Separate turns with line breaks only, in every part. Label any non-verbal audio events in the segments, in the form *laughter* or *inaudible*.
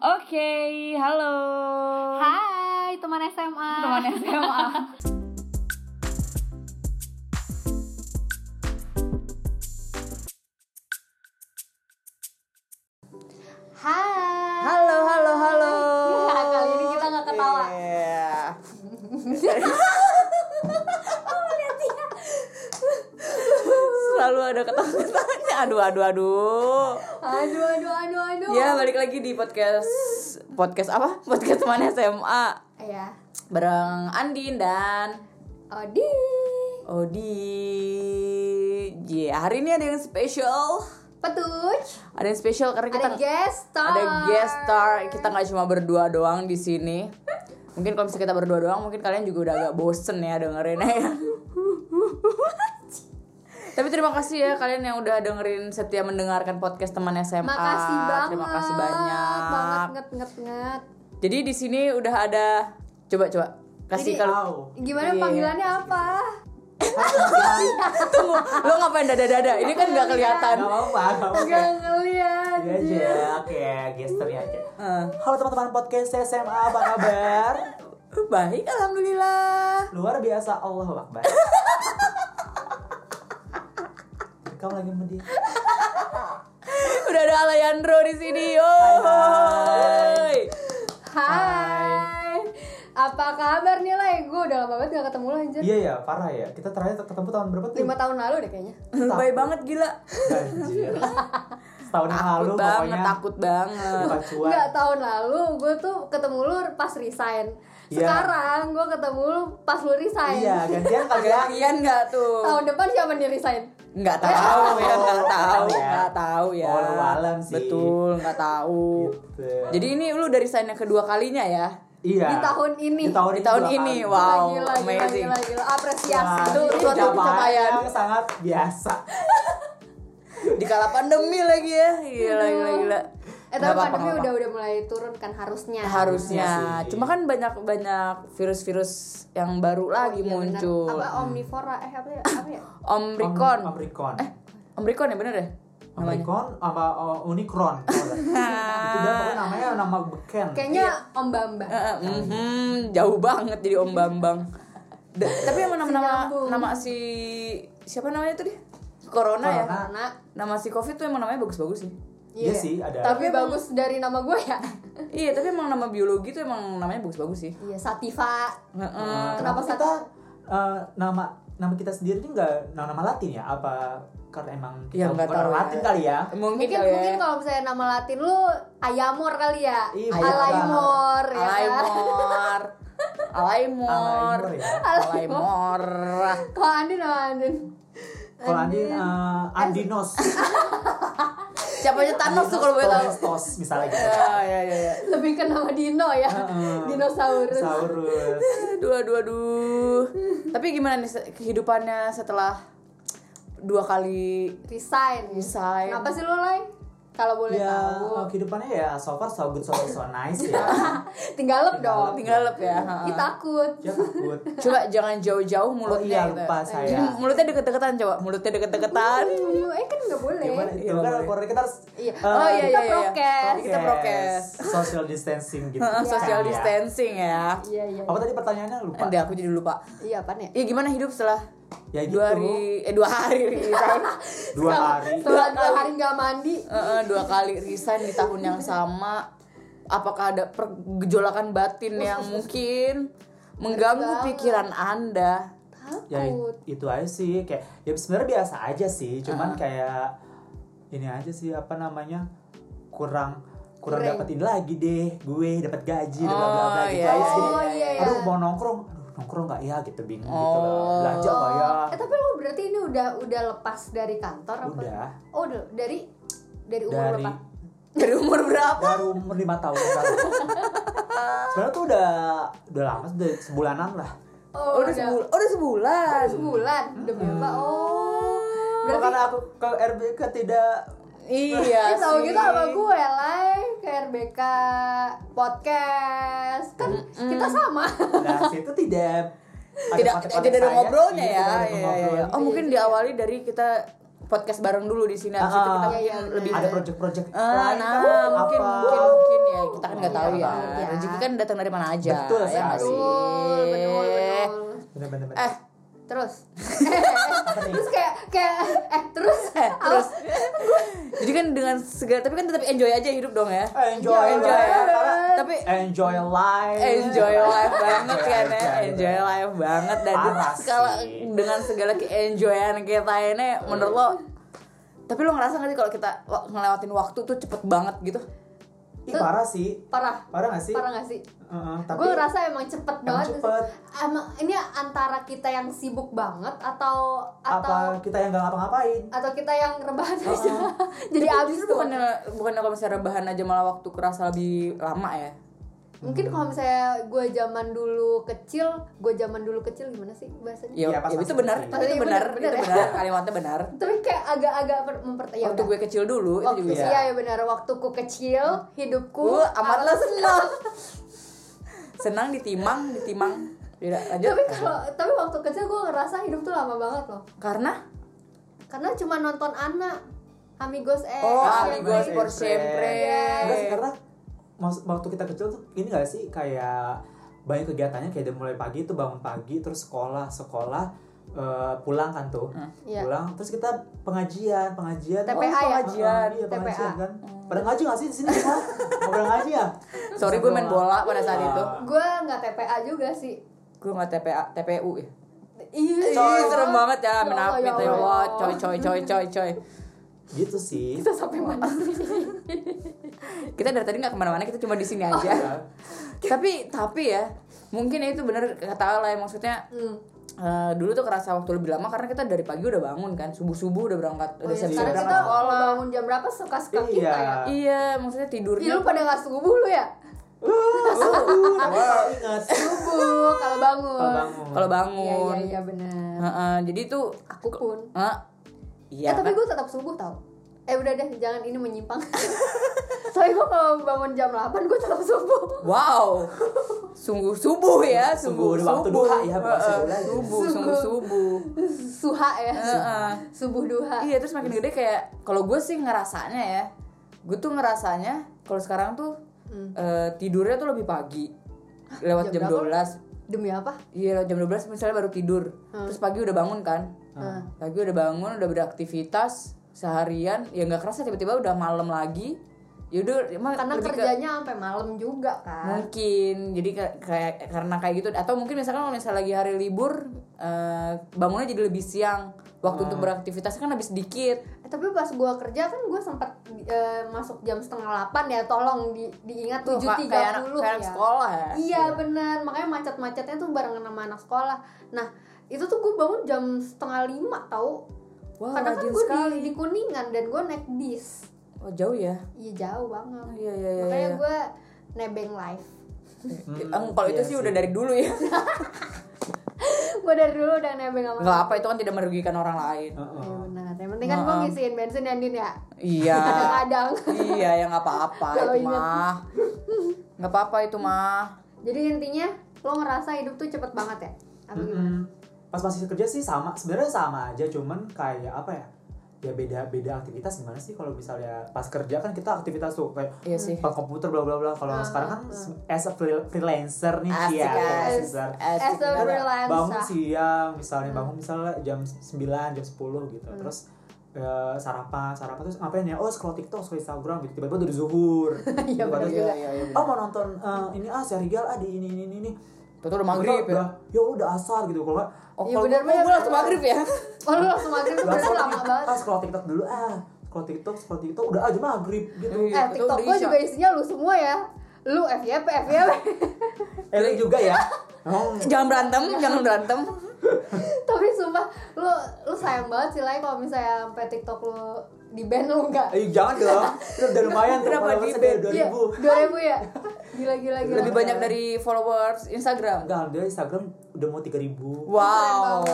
Oke, halo.
Hai teman SMA.
Teman SMA.
Hai.
Halo, halo, halo.
Iya,
Ya,
kali ini kita nggak ketawa.
Iya. *laughs* Selalu ada ketawa-ketawanya. Aduh, aduh, aduh.
Aduh aduh aduh aduh.
Ya, balik lagi di podcast podcast apa? Podcast teman SMA
Iya.
bareng Andin dan
Odi.
Odi. Ya, hari ini ada yang spesial.
Petuj.
Ada yang spesial karena kita
Ada guest star.
ada guest star kita nggak cuma berdua doang di sini mungkin kalau misalnya kita berdua doang mungkin kalian juga udah agak bosen ya dengerin ya
*laughs*
tapi terima kasih ya kalian yang udah dengerin setia mendengarkan podcast teman SMA
Makasih banget.
terima kasih banyak
Banget nget nget nget.
jadi di sini udah ada coba coba kasih
Jadi-
kalau
Gimana
Iya.
panggilannya apa?
tunggu lo ngapain dada dada ini kan nggak kelihatan
Gak apa-apa, gak apa-apa.
Gak ngeliat.
Iya aja, oke, gesternya aja.
Iya.
Eh,
Halo teman-teman podcast SMA, apa kabar?
baik alhamdulillah
Luar biasa, Allah Akbar. Kamu lagi mendidih.
udah ada Alayandro di sini yo
Hai. Apa kabar nih Le? Gue udah lama banget gak ketemu lo anjir.
Iya ya, parah ya. Kita terakhir ketemu tahun berapa tuh?
Lima tahun lalu deh kayaknya.
baik banget gila
Anjir. Setahun yang lalu
takut banget
pokoknya.
takut banget
Bukan cuan.
Enggak tahun lalu gue tuh ketemu lu pas resign.
Iya.
Sekarang gue ketemu lu pas lu resign.
Iya, gantian kali ya.
kalian nggak tuh
Tahun depan siapa nih resign?
nggak tahu *laughs* ya nggak tahu
Oh, ya.
nggak tahu ya
Oh, lu alam sih.
betul nggak tahu
Gitu.
jadi ini lu dari sign yang kedua kalinya ya
Iya.
Di tahun ini.
Di tahun,
Di tahun
dua
ini,
kali.
wah. Wow,
gila, gila,
amazing.
gila, gila. Apresiasi.
Wah,
Itu
ini
suatu
pencapaian
pencapaian.
yang sangat biasa.
di kala pandemi lagi ya gila gila gila
Eh
Nggak
tapi
apa-apa, nggak
pandemi udah
apa-apa.
udah mulai turun kan harusnya.
harusnya
Iya sih.
cuma kan banyak banyak virus-virus yang baru lagi
Iya, benar.
muncul Iya.
Apa omnivora eh apa ya? Apa ya?
Omricon
Omrikon. Eh,
Omricon ya bener ya namanya
Omikron sama uh,
*laughs*
Unicron. Tau gak? itu udah pokoknya namanya nama beken.
Kayaknya Om Bambang.
Eh, eh,
Kan.
mhm, jauh banget jadi Om Bambang. Da- tapi emang nama-nama
Nyambung.
nama si siapa namanya tuh dia? Corona, ya.
Corona.
Karena
Nama si Covid tuh emang namanya bagus-bagus sih.
Iya sih, ada.
Tapi
Emang-
bagus dari nama gue ya.
iya, tapi emang nama biologi tuh emang namanya bagus-bagus sih.
Iya, Sativa.
Heeh.
Nah,
Kenapa
kenapa kita uh, nama nama kita sendiri ini nggak nama, nama Latin ya? Apa karena emang
Ya,
kita
nggak
bukan
tahu
orang
ya.
Latin kali ya?
Mungkin
Mungkin
kali ya.
mungkin kalau misalnya nama Latin lu Ayamor kali ya.
Iya,
Alaimor ya. kan?
Alaimor. Alaimor.
Alaimor ya.
Alaimor.
*laughs* Kalau Andin nama Andin.
Kalau Andin, uh, Andinos,
*laughs* Siapa aja Thanos tuh kalau boleh tahu.
Torestos misalnya gitu.
Ya, ya, ya, ya.
Lebih ke nama Dino ya.
Heeh.
Dinosaurus.
*laughs*
Saurus.
Aduh, aduh, aduh. Tapi gimana nih se- kehidupannya setelah dua kali
Resign.
Resign.
Kenapa sih lu, Lai? Kalau boleh
Ya,
tahu.
kehidupannya ya so far so good so so
*laughs*
nice ya.
Tinggalep dong.
tinggal lep ya?
Iya.
ha-ha.
Ih, takut.
Ya takut.
Coba jangan jauh-jauh
Oh
mulutnya.
iya
gitu.
lupa
Hmm,
saya.
*laughs*
Iya.
Mulutnya deket-deketan coba, mulutnya deket-deketan.
Aduh, eh kan nggak boleh.
Gimana itu?
Iya,
Kan
boleh.
kalau kita harus
Iya.
Eh,
Oh iya
kita
iya iya.
prokes.
Kita prokes.
social distancing gitu
Ha-ha, Social
Iya.
distancing ya.
Iya, iya.
apa tadi pertanyaannya lupa
Nanti aku jadi lupa.
Iya, apaan ya?
Iya gimana hidup setelah
ya gitu
dua hari eh dua hari resign.
dua hari
Setelah dua hari nggak mandi.
Eh, eh, dua kali resign di tahun yang sama. Apakah ada pergejolakan batin
*laughs*
yang mungkin mengganggu pikiran Anda?
ya
Takut.
itu aja sih kayak ya sebenarnya biasa aja sih cuman kayak ini aja sih apa namanya kurang kurang
Kurang.
dapetin lagi deh gue dapat gaji bla bla bla
Oh,
gitu
iya,
aja sih
Oh, iya, iya.
aduh mau nongkrong aduh nongkrong nggak ya gitu bingung gitu
Oh.
loh. belanja nggak ya
Eh, tapi lu berarti ini udah udah lepas dari kantor apa?
udah
Oh, udah. dari dari umur
dari
berapa?
Dari umur berapa?
baru umur lima tahun yang lalu. sebenarnya tuh udah udah lama udah sebulanan lah
Oh,
Oh, udah, sebul- oh, udah sebulan.
udah sebulan. Demi apa? Oh. Berarti
karena aku ke RBK tidak
*laughs* Iya.
Ya, tahu
sih.
gitu sama gue live ke RBK podcast kan kita sama
Nah, *laughs* situ tidak
tidak
konten-konten
tidak ada
saya,
ngobrolnya
iya,
ya.
tidak ada
Iya, iya, iya.
ngobrol.
Oh mungkin diawali dari kita podcast bareng dulu di sini habis itu kita
Ah,
iya,
mungkin
iya,
lebih
ada
ke-
project-project
Eh, nah, mungkin mungkin mungkin ya kita kan nggak tahu ya.
Iya.
Rezeki kan datang dari mana aja.
Betul
ya nggak
sekali.
sih?
Betul, betul, betul.
Bener-bener.
Eh, *laughs*
Terus. *laughs* terus kayak kayak eh terus
eh, terus. Jadi kan dengan segala tapi kan tetap enjoy aja hidup dong ya.
Iya, enjoy,
*laughs* Enjoy ya.
Karena
Tapi
enjoy life.
enjoy
Iya.
life banget kan ya
Enjoy.
enjoy life banget dan *laughs*
Parah
segala
sih.
dengan segala keenjoyan kita ini menurut lo tapi lo ngerasa gak sih kalau kita wa- ngelewatin waktu tuh cepet banget gitu
Ih, parah sih.
parah.
Parah gak sih?
Parah gak sih?
Heeh, tapi
Gue ngerasa emang cepet
emang
banget.
cepet.
Emang ini antara kita yang sibuk banget atau atau
Apa kita yang gak ngapa-ngapain?
atau kita yang rebahan
*laughs*
aja. Jadi abis
Justru
tuh.
bukannya bukannya kalau misalnya rebahan aja malah waktu kerasa lebih lama ya
Mungkin kalau misalnya gue zaman dulu kecil, gue zaman dulu kecil gimana sih bahasanya?
ya,
Iya,
ya
pas
itu
masih
benar
kecil.
Pas-
itu
iya,
benar
benar,
itu
benar ya.
benar kalimatnya benar
Tapi kayak agak-agak per- mempertanya.
waktu gue kecil dulu itu
Waktu
juga
bisa.
iya ya benar waktuku kecil hidupku
gue amatlah senang senang ditimang ditimang tidak lanjut
*laughs* tapi kalau tapi waktu kecil gue ngerasa hidup tuh lama banget loh
karena
karena cuma nonton anak amigos eh
Oh,
Siempre.
Amigos por siempre.
Enggak sih, karena mas- waktu kita kecil tuh ini gak sih kayak banyak kegiatannya kayak dari mulai pagi tuh bangun pagi terus sekolah sekolah eh, pulang kan tuh
Iya.
pulang terus kita pengajian pengajian
TPA
Oh,
ya?
pengajian iya
TPA.
pengajian kan pada ngaji gak sih di sini semua Nggak pada ngaji ya
Sorry gue main bola pada saat itu.
gue nggak TPA juga sih
Gue nggak TPA, TPU ya.
iya
Coy, serem banget ya,
Ya
main
Allah,
apa
ya
ya
Allah.
Allah. Coy, coy, coy, coy, coy.
gitu sih
kita sampai mana sih
Kita dari tadi nggak kemana-mana, kita cuma di sini
Oh, iya.
aja. tapi, tapi ya, mungkin itu bener kata lah ya, maksudnya.
Hmm.
eh, dulu tuh kerasa waktu lebih lama karena kita dari pagi udah bangun kan subuh subuh udah berangkat
Oh,
udah
ya,
siap
sekarang
berangkat
kita mau
sekolah
bangun jam berapa suka suka
Iya.
kita ya
iya maksudnya
Iya
tidurnya
lu pada nggak subuh lu ya
Uh, tapi kalau ingat
subuh kalau bangun
kalau
kalau
iya
bangun
bangun
iya iya benar
Heeh, jadi itu
aku pun
Heeh. iya
eh, tapi
kan?
gue tetap subuh tau eh udah deh jangan ini menyimpang *laughs* soalnya gue kalau bangun jam 8 gue tetap subuh
Wow, sungguh subuh ya, sungguh subuh,
Subuh, udah waktu duha ya, bukan
Heeh,
subuh lagi.
subuh, sungguh
Subuh.
subuh.
suha ya
Heeh.
subuh duha
Iya, terus makin gede kayak kalau gue sih ngerasanya ya, gue tuh ngerasanya kalau sekarang tuh
Hmm.
eh, tidurnya tuh lebih pagi, lewat
jam
jam,
berapa?
12
demi apa
Iya, lewat jam 12 misalnya baru tidur, terus pagi udah bangun kan,
Hmm.
pagi udah bangun, udah beraktivitas seharian, ya nggak kerasa tiba-tiba udah malam lagi, yaudah emang
karena
lebih ke-
kerjanya sampai malam juga kan
mungkin jadi ka- kayak karena kayak gitu atau mungkin misalkan kalau misalnya lagi hari libur eh, bangunnya jadi lebih siang waktu
Hmm.
untuk beraktivitas kan lebih sedikit
Eh, tapi pas gua kerja kan gua sempat eh, masuk jam setengah 8 ya tolong di, diingat
tuh Pak,
7.30
kayak anak kayak anak
ya
sekolah ya
iya benar makanya macet-macetnya tuh barengan sama anak sekolah nah itu tuh gue bangun jam setengah lima tau
wah
karena kan
rajin
gue
sekali
di, di kuningan dan gue naik bis
oh, jauh ya
iya jauh banget
Oh, iya iya iya,
makanya
iya.
gue nebeng live *laughs*
Eh, kalau itu
iya
sih
sih.
udah dari dulu ya
gue dari dulu udah nebeng sama
nggak apa itu kan tidak merugikan orang lain
Heeh.
Iya benar. Yang penting kan gue
Heeh.
ngisiin bensin ya Din ya. *laughs*
iya
Kadang-kadang.
iya yang nggak apa-apa
Kalau
itu
ingat.
mah nggak apa-apa itu mah
Jadi intinya lo ngerasa hidup tuh cepet banget ya? Apa gimana?
Mm-mm. Pas masih kerja sih sama, sebenarnya sama aja, cuman kayak apa ya? Ya beda beda aktivitas gimana sih kalau misalnya pas kerja kan kita aktivitas tuh kayak
iya sih
depan komputer bla bla bla. Kalau
Ah,
sekarang kan
ah.
se- as a freel- freelancer nih
Asik,
ya,
asik,
freelancer.
As a
asik.
Kan
freelancer.
bangun siang misalnya
Hmm.
bangun misalnya jam 9 jam 10 gitu terus eh, sarapan sarapan terus ngapain ya oh scroll tiktok scroll instagram gitu tiba-tiba udah zuhur
*laughs* Iya,
Gitu,
bener
terus
juga.
kayak,
Iya, iya, iya.
oh mau nonton eh, ini ah serial ah di ini ini ini, ini
Tuh udah maghrib ya.
udah, ya udah asar gitu kalau nggak
Oh,
Iya,
kalau
bener,
gue oh,
bener.
gue langsung maghrib ya.
Oh lo langsung maghrib tuh berarti
Langsung
lama banget.
ah scroll tiktok dulu ah scroll tiktok scroll tiktok udah aja maghrib gitu
Iya.
Eh
itu
TikTok
udah
gue
isya.
juga isinya lu semua ya. Lu FYP FYP.
eh lu juga ya oh,
*laughs* jangan berantem, jangan berantem.
*laughs* Tapi sumpah lu lu sayang banget sih lah kalau misalnya sampai TikTok lu di ban lu enggak.
Iya,
eh, jangan dong itu udah lumayan tuh
Kenapa
followersnya
di-ban?
dari
Iya,
2000
2000 ya. Gila gila gila.
Lebih banyak dari followers Instagram.
enggak dia instagram udah mau 3000
Keren
Wow.
banget.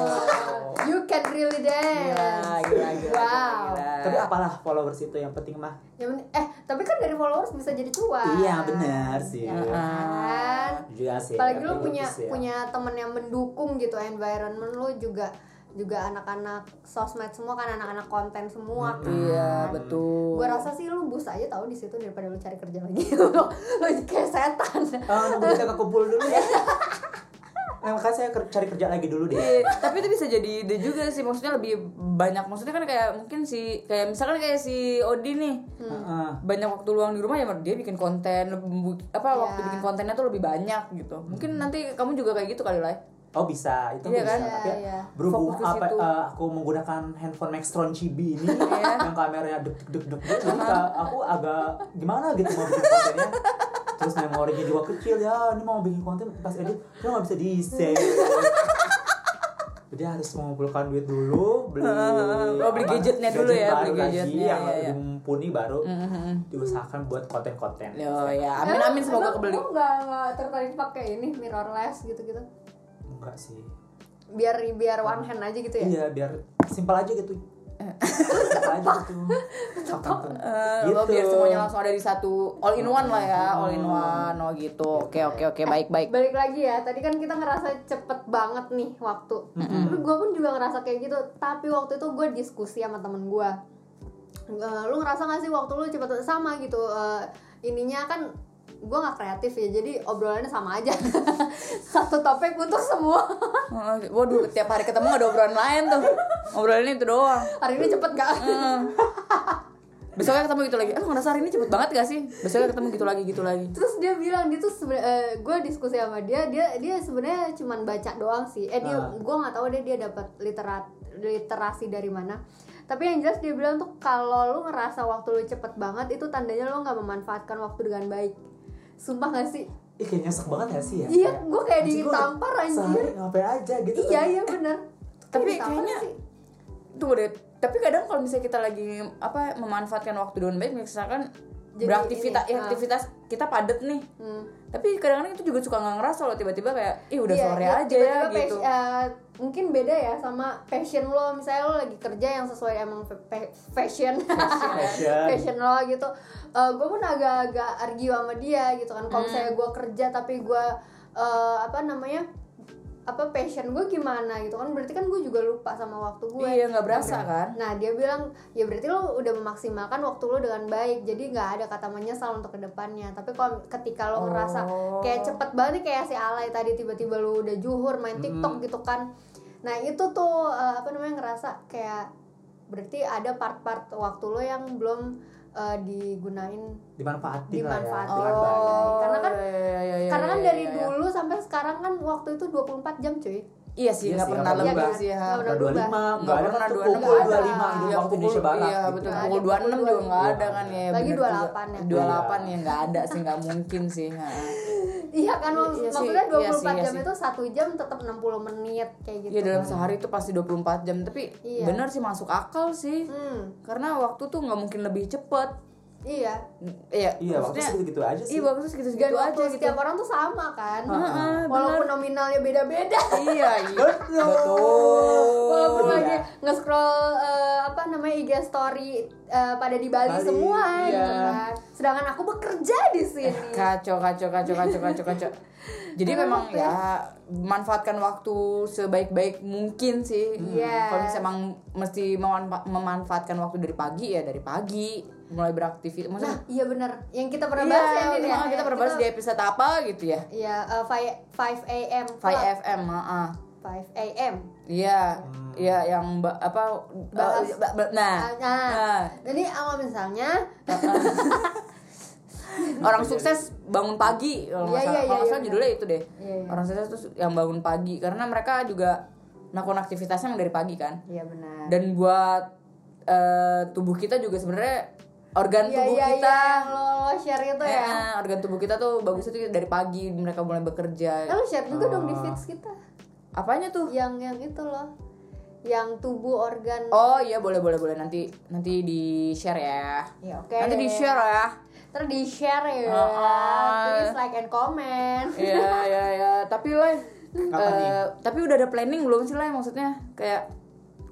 You can really
Gila,
dance.
gila, gila.
Wow.
gila.
tapi apalah followers itu yang penting mah
Ya bener- eh tapi kan dari followers bisa jadi cuan.
Iya benar sih.
Ya kan?
Juga sih.
Apalagi lu
Iya,
tapi
punya
bagus ya.
punya temen yang mendukung gitu environment lu juga juga anak-anak sosmed semua kan anak-anak konten semua
Hmm.
kan.
Iya, betul.
Gue rasa *laughs* sih lu bus aja tahu di situ daripada lu cari kerja lagi. lu kayak setan.
Ah, nunggu kita kekumpul dulu ya. *laughs* Nah, makanya saya ker- cari kerja lagi dulu deh.
Iya, tapi itu bisa jadi ide juga sih maksudnya lebih banyak maksudnya kan kayak mungkin si kayak misalkan kayak si Odi nih
Hmm.
Heeh.
banyak waktu luang di rumah ya dia bikin konten bu- apa
Iya. Hmm.
waktu bikin kontennya tuh lebih banyak gitu mungkin nanti kamu juga kayak gitu kali lah
Oh bisa, itu
Iya
bisa.
kan?
Tapi
Iya, iya.
berhubung
Fokus ke
apa,
situ.
eh, aku menggunakan handphone Maxtron Chibi ini
*laughs* Iya.
yang kameranya deg deg deg deg deg, jadi ka- aku agak gimana gitu mau bikin kontennya. Terus memorinya juga kecil ya, ini mau bikin konten pas edit, cuma nggak bisa di save. Jadi harus mengumpulkan duit dulu,
*laughs*
beli
Oh, beli
apa,
gadgetnya dulu ya,
baru
beli
lagi
gadgetnya,
yang
iya, Mm-hmm. iya.
mumpuni baru diusahakan buat konten-konten.
oh ya *laughs* amin amin semoga
Emang-
kebeli
emang nggak nggak tertarik pakai ini mirrorless gitu-gitu.
Enggak sih.
Biar biar one hand aja gitu ya.
Iya, biar simpel aja gitu. Simpel aja gitu. Cakep.
Eh, lo biar
gitu.
semuanya langsung ada di satu all in one lah ya
Mm-hmm.
all in one oh gitu oke
ya.
oke oke baik baik
Balik lagi ya, tadi kan kita ngerasa cepet banget nih waktu. Tapi gue pun juga ngerasa kayak gitu. Tapi waktu itu gue diskusi sama temen gue. Eh, lu ngerasa gak sih waktu lu cepet sama gitu? eh, ininya kan gue nggak kreatif ya, jadi obrolannya sama aja. *laughs* Satu topik untuk semua. *laughs*
Eh, waduh tiap hari ketemu ada obrolan lain tuh obrolan itu doang
Hari ini cepet gak?
Eh. besoknya ketemu gitu lagi eh lu ngerasa hari ini cepet banget gak sih besoknya ketemu gitu lagi gitu lagi
terus dia bilang dia tuh seben- eh, gue diskusi sama dia dia dia sebenarnya cuman baca doang sih eh dia
Ah.
gue nggak tahu dia dia dapat literat literasi dari mana tapi yang jelas dia bilang tuh kalau lu ngerasa waktu lu cepet banget itu tandanya lu nggak memanfaatkan waktu dengan baik sumpah gak sih
Ih kayak nyesek banget gak sih ya?
Iya, gua kayak
anjing, gua
ditampar,
udah
anjir.
Sehari ngapain aja gitu
iya iya benar
tapi kayaknya- Tunggu deh, tapi kadang kalau misalnya kita lagi apa memanfaatkan waktu dengan baik misalkan
Jadi
beraktivitas
ini,
ya,
ah.
aktivitas kita padet nih
Hmm.
tapi kadang-kadang itu juga suka nggak ngerasa loh tiba-tiba kayak ih udah
Iya,
sore
iya,
aja ya
tiba-tiba
gitu
pas- eh, mungkin beda ya sama passion lo misalnya lo lagi kerja yang sesuai emang fa- fa- fashion *laughs*
Fashion.
fashion lo gitu gue pun agak-agak argue sama dia gitu kan
Hmm.
kalau misalnya gue kerja tapi gue apa namanya apa passion gue gimana gitu kan berarti kan gue juga lupa sama waktu gue
iya nggak berasa kan
Nah dia bilang ya berarti lo udah memaksimalkan waktu lo dengan baik jadi nggak ada kata menyesal untuk kedepannya tapi kalau ketika lo ngerasa
Oh.
kayak cepet banget nih, kayak si alay tadi tiba-tiba lo udah juhur
Hmm.
main tiktok gitu kan nah itu tuh eh, apa namanya ngerasa kayak berarti ada part-part waktu lo yang belum eh, digunain
Dimanfaatin,
Dimanfaatin.
lah ya. dengan baik.
Oh,
Karena
Oh,
kan-
iya, iya, iya,
karena kan
iya,
dari
iya, iya.
dulu sampai sekarang kan waktu itu 24 jam cuy *laughs*
iya sih
Iya
nggak
sih,
pernah
nggak
lebih
pernah.
sih ya
Nggak
Nggak
Udah
25, nggak ada
pernah
kan tuh
26.
pukul
Nggak ada.
25 itu
Iya,
waktu Indonesia Barat
iya
gitu.
betul
Nggak
pukul
ada,
26 juga
pukul
nggak
26.
ada kan ya
Lagi
bener juga.
28 ya.
Iya.
28 ya nggak ada sih nggak mungkin sih ha.
Iya kan
Iya, iya sih,
maksudnya
iya sih,
24
iya
jam
sih.
itu satu jam tetap 60 menit kayak gitu.
Iya dalam sehari itu pasti 24 jam tapi
Iya.
bener sih masuk akal sih
Hmm,
karena waktu tuh nggak mungkin lebih cepet
iya.
iya
Iya, waktu
maksudnya-
segitu-gitu aja sih.
iya waktu segitu
Dan
segitu aja
waktu
gitu
setiap orang tuh sama kan.
Heeh,
Walaupun nominalnya beda-beda.
bener. iya iya
Betul.
Walaupun
Iya.
lagi nge-scroll eh, apa namanya IG story eh, pada di Bali,
Bali,
semua
iya. Eh,
gitu kan. Sedangkan aku bekerja di sini.
kacau kacau kacau kacau kacau kacau jadi memang ya manfaatkan waktu sebaik-baik mungkin sih
Iya.
kalau misalnya emang mesti memanfa- memanfaatkan waktu dari pagi ya dari pagi mulai beraktivitas
Nah,
maksudnya
iya benar. Yang kita pernah bahas ya,
iya,
Din, ya.
emang kita pernah bahas di episode apa gitu ya
Iya, eh, fi- 5 AM.
5 FM heeh.
5 AM.
Iya, iya yang ba- apa
Bahas.
eh, ba- ba- nah,
Ah, Nah,
nah.
jadi awal misalnya
orang sukses bangun pagi kalau nggak
Iya,
salah,
iya,
kalau nggak
iya,
salah
iya.
judulnya itu deh.
Iya, iya.
Orang sukses tuh yang bangun pagi karena mereka juga melakukan aktivitasnya emang dari pagi kan.
Iya benar.
Dan buat eh, tubuh kita juga sebenarnya organ
Iya
tubuh
iya
kita,
iya yang lo, lo share itu
eh,
ya.
eh, organ tubuh kita tuh bagusnya tuh dari pagi mereka mulai
Eh,
bekerja.
lo share juga dong di
Oh.
feeds kita.
Apanya tuh?
Yang yang itu loh. Yang tubuh organ.
Oh iya boleh boleh boleh nanti nanti di share ya.
Ya oke.
Nanti di share ya.
Terus di share ya.
Oh, oh.
Please like and comment.
Iya iya iya, tapi lah
Kapan nih?
tapi udah ada planning belum sih lah maksudnya kayak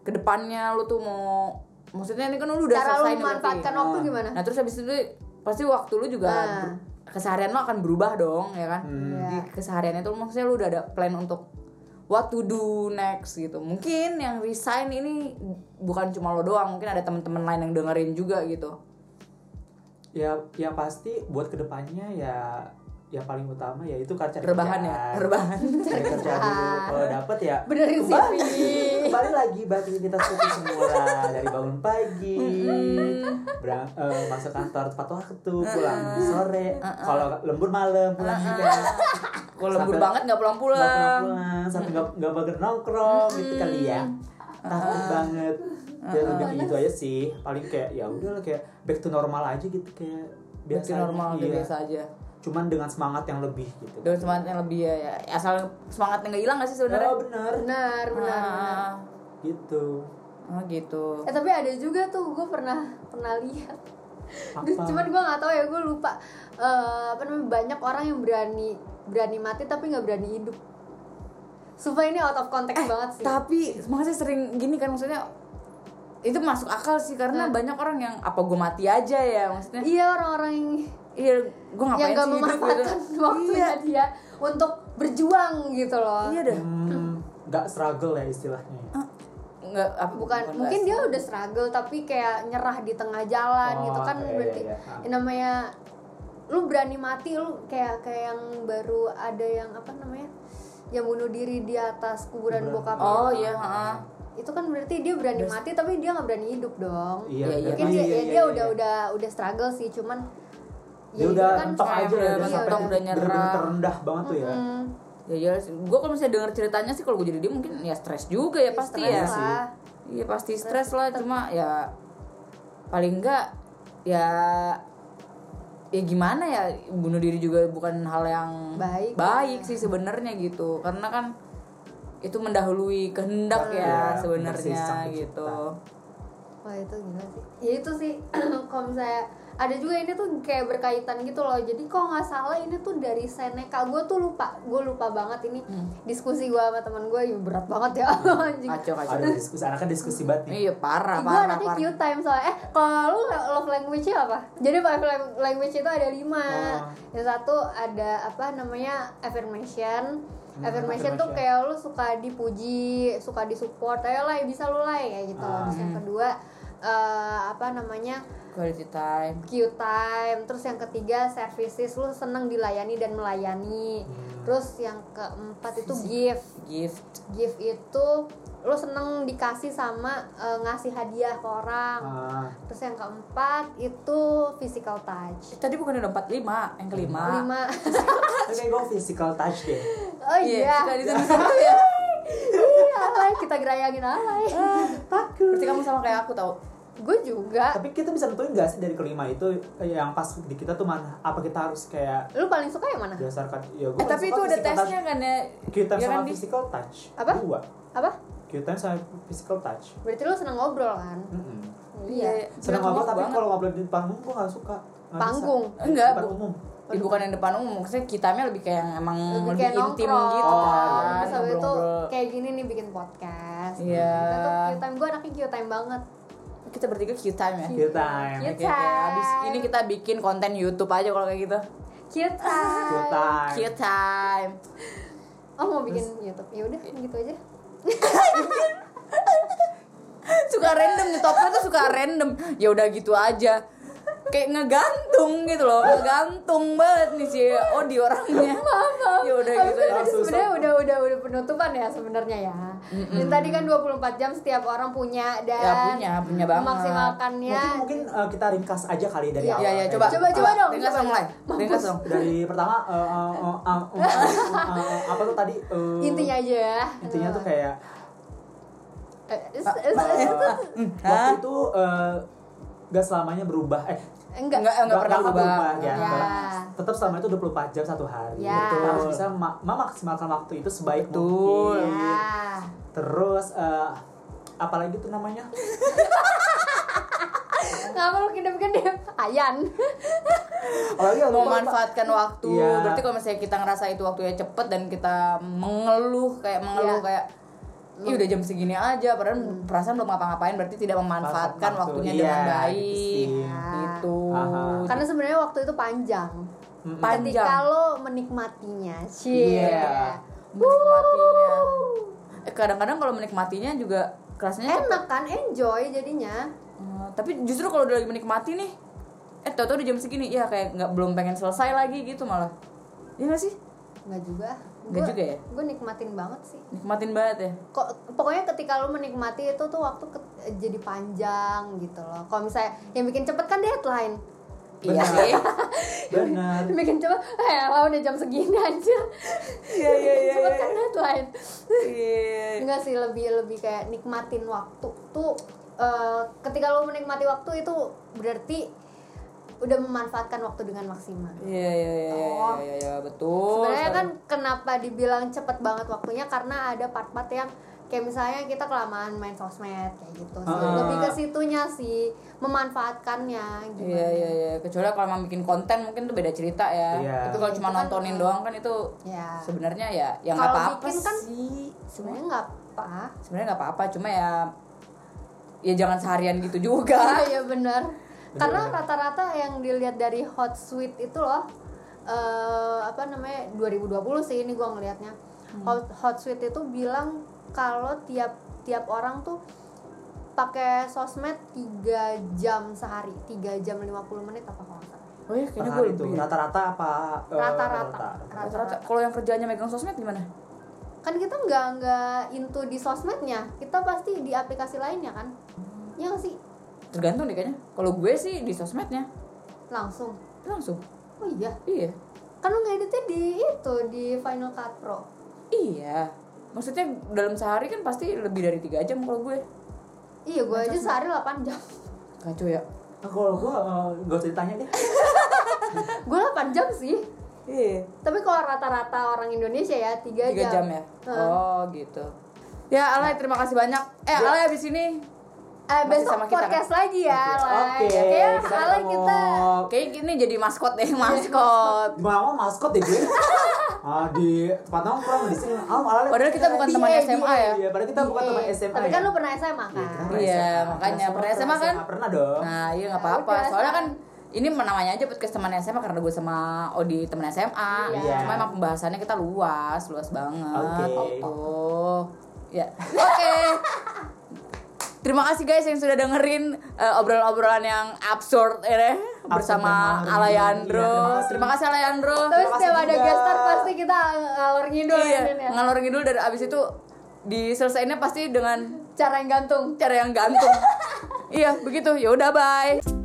kedepannya lu tuh mau maksudnya ini kan lu udah
Cara lo
selesai nih berarti.
memanfaatkan waktu gimana?
Nah, terus habis itu pasti waktu lu juga
Ah.
ber- keseharian lo akan berubah dong, ya kan?
Hmm.
Iya.
Di keseharian itu maksudnya lu udah ada plan untuk what to do next gitu mungkin yang resign ini bukan cuma lo doang mungkin ada teman-teman lain yang dengerin juga gitu
ya ya pasti buat kedepannya ya ya paling utama ya itu kan cari
rebahan ya
kerjaan.
rebahan
cari kerja dulu
kerjaan.
kalau dapet ya
benerin
kembali.
CV
kembali lagi bagi kita seperti semula dari bangun pagi berang, eh, masuk kantor tepat waktu pulang sore kalau lembur malam pulang juga
kalau lembur
Sampai-
banget nggak
Nggak
pulang-pulang
pulang-pulang sampai nggak nggak bager nongkrong gitu kali ya takut banget ya lebih gitu aja sih paling kayak ya udahlah kayak back to normal aja gitu kayak biasa
biasa normal
aja,
udah
iya.
biasa aja
cuman dengan semangat yang lebih gitu
dengan semangatnya lebih ya, ya. asal semangatnya nggak hilang nggak sih sebenarnya
oh benar
benar benar benar
Ah,
gitu
oh gitu
eh tapi ada juga tuh gue pernah pernah lihat Terus
Apa?
cuman gue nggak tahu ya gue lupa Eh, apa namanya banyak orang yang berani berani mati tapi nggak berani hidup Sumpah ini out of context
Eh,
banget sih
tapi makanya sering gini kan maksudnya itu masuk akal sih karena banyak orang yang apa gue mati aja ya maksudnya
iya orang-orang yang
iya gue
yang
ngapain
nggak
sih hidup gitu.
memanfaatkan
*laughs*
waktunya dia untuk berjuang gitu loh
iya dah
Hmm, nggak struggle ya istilahnya
Oh.
ya.
nggak apa
bukan
nggak
mungkin dia
sih.
udah struggle tapi kayak nyerah di tengah jalan
Oh,
gitu kan
iya, iya,
berarti
iya.
yang namanya lu berani mati lu kayak kayak yang baru ada yang apa namanya yang bunuh diri di atas kuburan
Kuburan.
bokap
oh iya heeh.
itu kan berarti dia berani mati tapi dia nggak berani hidup dong
iya
Iya, iya.
mungkin
benar.
dia,
Iya,
ya
iya,
dia
iya,
udah
iya.
udah udah struggle sih cuman
dia
itu
udah
kan
entok aja ya
Iya,
udah
udah sampai
mentok, udah
bener-bener
nyerah.
terendah banget tuh ya
mm,
ya ya gue kalau misalnya denger ceritanya sih kalau gue jadi dia mungkin ya stres juga ya pasti
stres
ya
lah.
iya pasti stres lah cuma ya paling enggak ya ya gimana ya bunuh diri juga bukan hal yang
Baik.
sih sebenarnya gitu karena kan itu mendahului kehendak
Iya,
ya
bersisang
sebenarnya
pencipta.
gitu
Wah itu gila sih. Ya itu sih *clears throat* kalau misalnya ada juga ini tuh kayak berkaitan gitu loh. Jadi kalau nggak salah ini tuh dari Seneca. Gue tuh lupa, gue lupa banget ini
Hmm.
diskusi gue sama teman gue ya berat banget ya *laughs* anjing.
kacau kacau
ada diskusi anaknya diskusi banget nih
iya parah
Gue
parah
anaknya
parah
cute time soalnya Eh kalau lu love language nya apa? Jadi love lang- language itu ada lima
Oh.
Yang satu ada apa namanya affirmation
Hmm,
Affirmation tuh
affirmation.
kayak lu suka dipuji, suka disupport Ayo lah bisa lu lah kayak gitu
Ah.
Terus yang kedua eh, apa namanya
quality time
Q time terus yang ketiga services lu seneng dilayani dan melayani
Hmm.
terus yang keempat itu give
gift
give itu lu seneng dikasih sama eh, ngasih hadiah ke orang
Ah,
terus yang keempat itu physical touch
Eh, tadi bukan udah empat lima yang kelima
lima *laughs*
tapi kayak gue physical touch deh
oh iya
tadi tuh ya
iya alay kita gerayangin alay *laughs*
takut
berarti kamu sama kayak aku tau
gue juga
tapi kita bisa tentuin gak sih dari kelima itu eh, yang pas di kita tuh mana apa kita harus kayak
lu paling suka yang mana
dasarkan ya gue
Eh, tapi itu ada tesnya kan ya?
kita
Ya kan,
sama
Di?
physical touch
Apa?
dua
apa
kita sama physical touch
berarti lu seneng ngobrol kan
Mm-mm.
iya
Bener
seneng ngobrol tapi
banget.
kalau ngobrol di panggung gue gak suka Nggak bisa.
Panggung?
Enggak,
Depan
Bu.
umum
Ya, bukan yang depan umum, maksudnya kitanya lebih kayak yang emang lebih,
lebih, kayak
intim
nongkrong Oh,
gitu kan.
Terus habis itu
ngobrol-ngobrol.
kayak gini nih bikin podcast
Iya.
Kita tuh Q time gue anaknya Q time banget.
Kita bertiga cute time ya.
kita time
Cute.
Oke, oke. Abis ini kita bikin konten YouTube aja kalau kayak gitu.
Cute
Cute
time.
time
Cute time.
Oh mau bikin YouTube? Ya udah gitu aja.
suka random nih topnya tuh suka random. Ya udah gitu aja. Kayak ngegantung gitu loh, ngegantung banget nih si Odi orangnya. Ya udah
Tapi
gitu. aja.
kan tadi
langsung
*laughs* sebenarnya udah udah udah penutupan ya sebenarnya ya. Dan tadi kan 24 jam setiap orang punya dan
Ya punya, punya banget.
memaksimalkannya.
mungkin mungkin eh, kita ringkas aja kali dari
Iya.
awal Eh,
Ya ya coba.
Coba, coba dong,
Dengar
coba.
song lain. Dengar song.
dari pertama eh, eh, eh, eh, eh, eh, eh, apa tuh tadi eh,
Intinya aja ya.
intinya tuh kayak
Eh, eh, eh, eh, eh,
eh, waktu itu eh, nggak selamanya berubah eh
enggak.
Enggak, enggak pernah
akan
berubah. Iya.
ya.
Ya.
Tetap selama itu 24 jam satu hari.
Ya.
Betul. Harus bisa ma- memaksimalkan waktu itu sebaik
Betul.
mungkin.
Iya.
Ya.
Terus eh, apalagi tuh namanya?
Ngapa lu kedip-kedip? Ayan.
*laughs* Apalagi yang
mau
lupa-
manfaatkan waktu
Iya.
berarti kalau misalnya kita ngerasa itu waktunya cepet dan kita mengeluh kayak mengeluh
Iya.
kayak Ih udah jam segini aja, padahal perasaan belum ngapa-ngapain berarti tidak memanfaatkan
Manfaatkan waktu.
waktunya
Iya,
dengan
gitu
baik,
sih.
gitu.
Aha.
Karena sebenarnya waktu itu panjang.
Mm-mm.
Panjang.
Ketika lo menikmatinya, sih.
Iya.
menikmatinya Eh, kadang-kadang kalau menikmatinya juga kerasnya
enak kan enjoy jadinya
Eh, tapi justru kalau udah lagi menikmati nih eh tau-tau udah jam segini ya kayak nggak belum pengen selesai lagi gitu malah Iya nggak sih
nggak juga
Nggak juga ya?
gue nikmatin banget sih
nikmatin banget ya
kok pokoknya ketika lu menikmati itu tuh waktu ke- eh, jadi panjang gitu loh kalau misalnya yang bikin cepet kan deadline
iya
Benar.
sih *laughs*
benar
Yang bikin cepet *laughs* eh lah udah jam segini *laughs* anjir
iya iya iya *laughs*
cepet kan deadline
Iya.
enggak sih lebih lebih kayak nikmatin waktu tuh eh, ketika lu menikmati waktu itu berarti udah memanfaatkan waktu dengan maksimal
Iya iya iya iya,
Oh.
iya iya betul.
sebenarnya
sekali.
kan kenapa dibilang cepet banget waktunya karena ada part-part yang kayak misalnya kita kelamaan main sosmed kayak gitu sih.
Ah.
lebih ke situnya sih memanfaatkannya gimana
Iya iya iya kecuali kalau emang bikin konten mungkin tuh beda cerita ya.
Iya.
Tapi kalau cuma
Itu kan-
nontonin doang kan itu
ya
sebenarnya ya ya nggak
Kalau
apa-apa
bikin kan-
sih.
sebenarnya nggak apa
Sebenarnya nggak apa-apa cuma ya ya jangan seharian gitu juga.
iya *laughs* iya benar karena rata-rata yang dilihat dari hot suite itu loh eh apa namanya 2020 sih ini gua ngelihatnya hot, hot suite itu bilang kalau tiap tiap orang tuh pakai sosmed 3 jam sehari 3 jam 50 menit apa kalau nggak salah.
Oh iya
Per
kayaknya gue
hari
lebih.
tuh rata-rata apa eh,
rata-rata
Rata-rata
rata-rata
kalau yang kerjanya megang sosmed gimana?
kan kita nggak nggak into di sosmednya kita pasti di aplikasi lainnya kan ya nggak sih
Tergantung deh kayaknya. Kalau gue sih di sosmednya
langsung
langsung.
oh iya
Iya.
kan lu ngeditnya di itu di Final Cut Pro
Iya. Maksudnya dalam sehari kan pasti lebih dari tiga jam kalau gue.
iya gue aja sehari 8 jam *laughs*
Kacau ya.
Nah, kalau gua eh, nggak usah ditanya deh
gue 8 jam sih
Iya.
tapi kalau rata-rata orang Indonesia ya 3 jam,
tiga jam ya
Heeh.
oh gitu ya Alay terima kasih banyak eh Alay abis ini
eh,
Masih sama
besok
kita,
podcast lagi
Iya,
ya
oke
Lai. Oke,
kita
Lai kita
ketemu.
kayak gini jadi maskot deh maskot
mau Oh. maskot deh gue ah, di tempat nongkrong di sini ah malah
padahal kita bukan
Di
teman
A, di
SMA ya
iya padahal kita bukan teman
Eh,
SMA
tapi kan
ya.
lu pernah SMA kan
kita pernah
Iya,
SMA.
makanya. Pernah SMA kan?
pernah dong
nah iya nggak
Ya
apa-apa
udah,
soalnya kan
sekarang.
ini namanya aja podcast teman SMA karena gue sama Odi teman SMA
Iya.
cuma emang pembahasannya kita luas luas banget
Oke.
oh ya oke *laughs* Terima kasih guys yang sudah dengerin eh, obrolan-obrolan yang absurd ini bersama
dan ngawur. Iya,
Alayandro.
terima
terima kasih Alayandro.
terus
Terima kasih
tiap ada
juga.
gestar pasti kita eh, ngalor ngidul
iya,
ini ya
ngalor ngidul dari abis itu diselesainnya pasti dengan
cara yang gantung
cara yang gantung. iya, begitu. Ya udah bye.